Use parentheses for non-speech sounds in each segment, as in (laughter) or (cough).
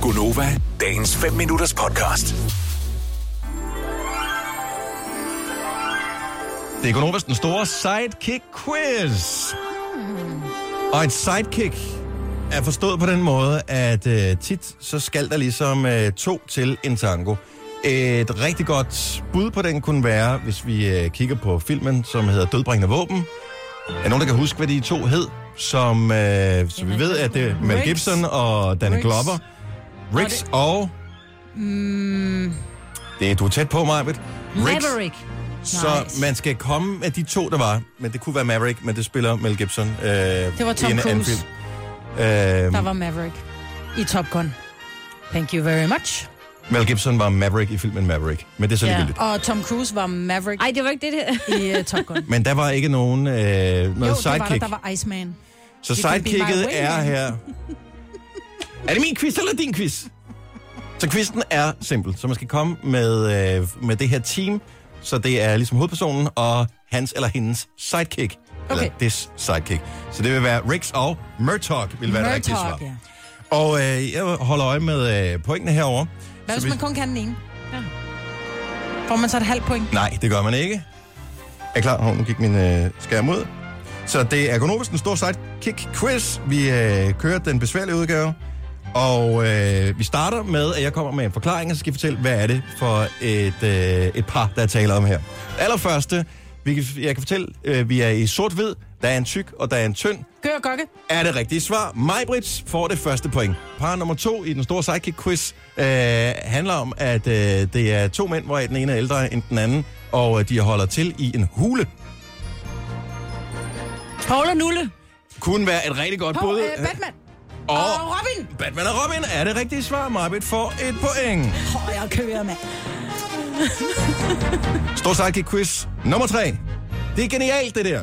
Gunova, dagens 5 minutters podcast. Det er Gunovas den store sidekick quiz. Og et sidekick er forstået på den måde, at øh, tit så skal der ligesom øh, to til en tango. Et rigtig godt bud på den kunne være, hvis vi øh, kigger på filmen, som hedder Dødbringende Våben. Er nogen, der kan huske, hvad de to hed? Som, øh, så vi ved, at det er Mel Riggs. Gibson og Dan Riggs. Glover. Riggs og... Mm. Det er du er tæt på, Marvitt. Maverick. Så Nice. man skal komme med de to, der var. Men det kunne være Maverick, men det spiller Mel Gibson. Øh, det var Tom Cruise. Øh, Der var Maverick i Top Gun. Thank you very much. Mel Gibson var Maverick i filmen Maverick, men det er så Ja. ligegyldigt. Og Tom Cruise var Maverick Ej, det var ikke det, det. (laughs) i uh, (laughs) Top Gun. Jo, Men der var ikke nogen øh, noget det var der, sidekick. der var Iceman. Så You can be my sidekicket wingman. er (laughs) her. Er det min quiz eller din quiz? Så quizzen er simpel. Så man skal komme med, øh, med det her team. Så det er ligesom hovedpersonen og hans eller hendes sidekick. Okay. Eller Okay. this sidekick. Så det vil være Riggs og Murtaugh vil være det rigtige svar. Murtaugh, ja. Og øh, jeg holder øje med øh, pointene herover. Hvad hvis man kun kan den ene? Får man så et halvt point? Nej, det gør man ikke. Er I klar? Hov, nu gik min øh, skærm ud. Så det er Gonovas, den store sidekick quiz. Vi øh, kører den besværlige udgave. Og øh, vi starter med, at jeg kommer med en forklaring, og så skal jeg fortælle, hvad er det for et, øh, et par, der er tale om her. Allerførste, vi kan, jeg kan fortælle, øh, vi er i sort-hvid. Der er en tyk, og der er en tynd. Gør og gokke. er det rigtige svar. Majbrits får det første point. Par nummer to i den store sidekick quiz øh, handler om, at øh, det er to mænd, hvor den ene er ældre end den anden, og øh, de holder til i en hule. Paul og Nulle. Kunne være et rigtig godt Paul, bud. øh, Batman. og Og Robin. Batman og Robin er det rigtige svar. Majbrit får et point. Åh, jeg kører, mand. Stor sidekick quiz nummer tre. Det er genialt, det der.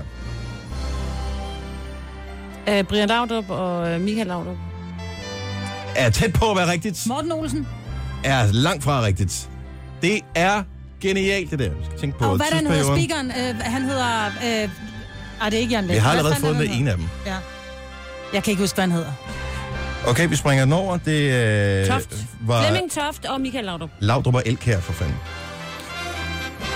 Øh, Brian Laudrup og øh, Michael Laudrup. Er tæt på at være rigtigt. Morten Olsen. Er langt fra rigtigt. Det er genialt, det der. Vi skal tænke på Og hvad er der nu hedder tidsperioden. speakeren? Øh, han hedder... Øh, ej, det er ikke Jan Let. Vi har Hvad allerede fanden fået er med det, en af dem. han hedder? Ja. Jeg kan ikke huske, hvad han hedder. Okay, vi springer den over. Det øh, Toft. var Flemming Toft og Michael Laudrup. Laudrup og Elkær for fanden.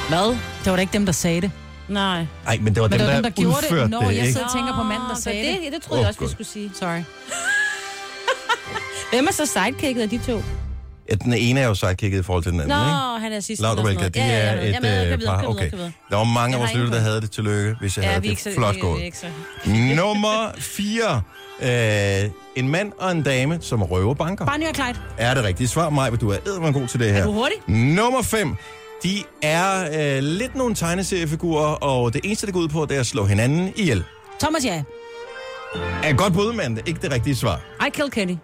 Hvad? Det var da ikke dem, der sagde det. Nej. Nej, men det var dem, Men det der, var dem, der gjorde det. udførte Nå, det, jeg ikke? sidder- tænker på manden, der så sagde det. Det troede Åh, jeg også, Gud. vi skulle sige. Sorry. Hvem er så sidekicket af de to? Ja, den ene er jo sidekicket i forhold til den anden, Nå, ikke? han er sidst. Laudrup og Elkær, de er et øh, par. Okay, der var mange af Jeg vores har ingen lytter, der på. havde det. Tillykke, hvis jeg Ja, havde vi er ikke det. så... Flot vi- vi gået. er ikke så- Nummer 4. Øh, en mand og en dame, som røver banker. Barney og Clyde. Er det rigtige svar, Maj, du er eddermand god til det her. du hurtig? Nummer 5. De er øh, lidt nogle tegneseriefigurer, og det eneste, det går ud på, det er at slå hinanden ihjel. Thomas, ja. Er et godt bud, men ikke det rigtige svar. I kill Kenny.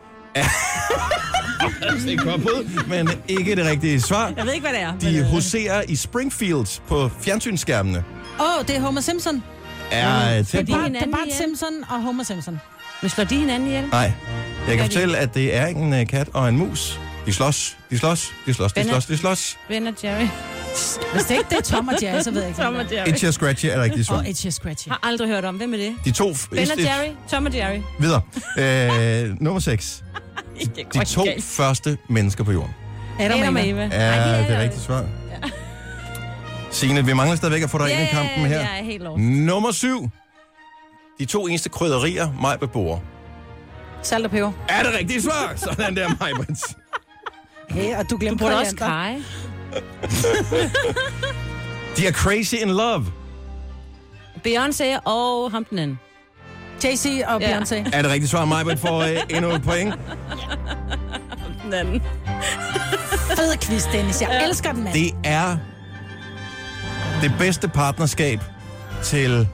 Det er et godt bud, men ikke det rigtige svar. Jeg ved ikke, hvad det er. men, De øh, huserer i Springfield på fjernsynsskærmene. Åh, oh, det er Homer Simpson. Er tæt fordi- på. Bart, det er hinanden Bart ihjel. Simpson og Homer Simpson. Men slår de hinanden ihjel? Nej, jeg kan de- fortælle, at det er en øh, kat og en mus. De slås, de slås, de slås, de Den er- slås, de slås. Venner Jerry. Hvis det ikke det er Tom og Jerry, så ved jeg ikke, hvem Tom og det Jerry. Itchy og Scratchy er det rigtige er. Og svar. Itchy og Scratchy. Har aldrig hørt om. Hvem er det? De to... f- Ben et- og et- Jerry. Tom og Jerry. Videre. Øh, nummer 6. Det går De ikke to galt. første mennesker på jorden. Adam Adam og og Eva. Eva. Ej, de Er det der- rigtige svar? Signe, vi mangler stadigvæk at få dig Ja, ind i kampen her. Jeg er helt lost. Nummer 7. De to eneste krydderier, mig beboer. Salt og peber. Er det rigtige svar? (laughs) Sådan der, Majbrits. Ja, og du Du glemte burde også kreje. De er crazy in love. Beyoncé og ham den anden. JC og Ja. Beyoncé. Er det rigtigt svar, Majbert får øh, endnu et point? Den anden. Fed quiz, Dennis. Jeg elsker den, mand. Det er det bedste partnerskab til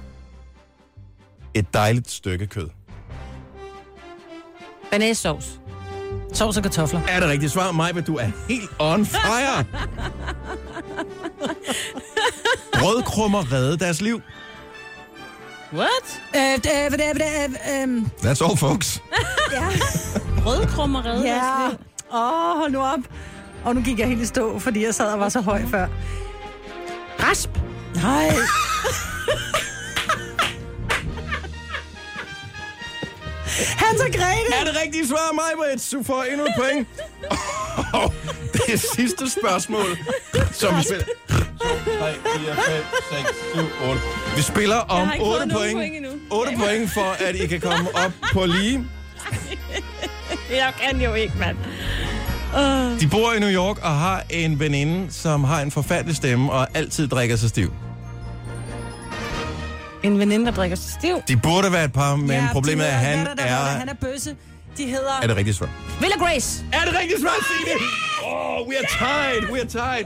et dejligt stykke kød. Banæssovs. Sovs og kartofler. Er det rigtigt svar, Majbert? Du er helt on fire. Brødkrummer redde deres liv. What? Øh, d- øh, hvad det er, hvad det er, øh, øhm, That's all, folks. (laughs) Rødkrummer redder Ja. os liv. Åh, hold nu op. Og nu gik jeg helt i stå, fordi jeg sad og var så høj Mhm. før. Rasp. (laughs) Nej. Hans og Grete. Er det rigtige svar, Majbrit? Du får endnu et point. (laughs) Og det sidste spørgsmål, som vi spiller... 3, 4, 5, 6, 7, 8. Vi spiller om har ikke fået 8 nogen point. point endnu. 8 point for, at I kan komme op på lige. Jeg kan jo ikke, mand. De bor i New York og har en veninde, som har en forfærdelig stemme og altid drikker sig stiv. En veninde, der drikker sig stiv. De burde være et par, men Ja, ja, de problemet er, at hedder- han hvad der, der hedder? er... Han er bøsse. De hedder... Er det rigtigt svar? Villa Grace. Er det rigtigt svar, Signe? Oh, we are tied, we are tied.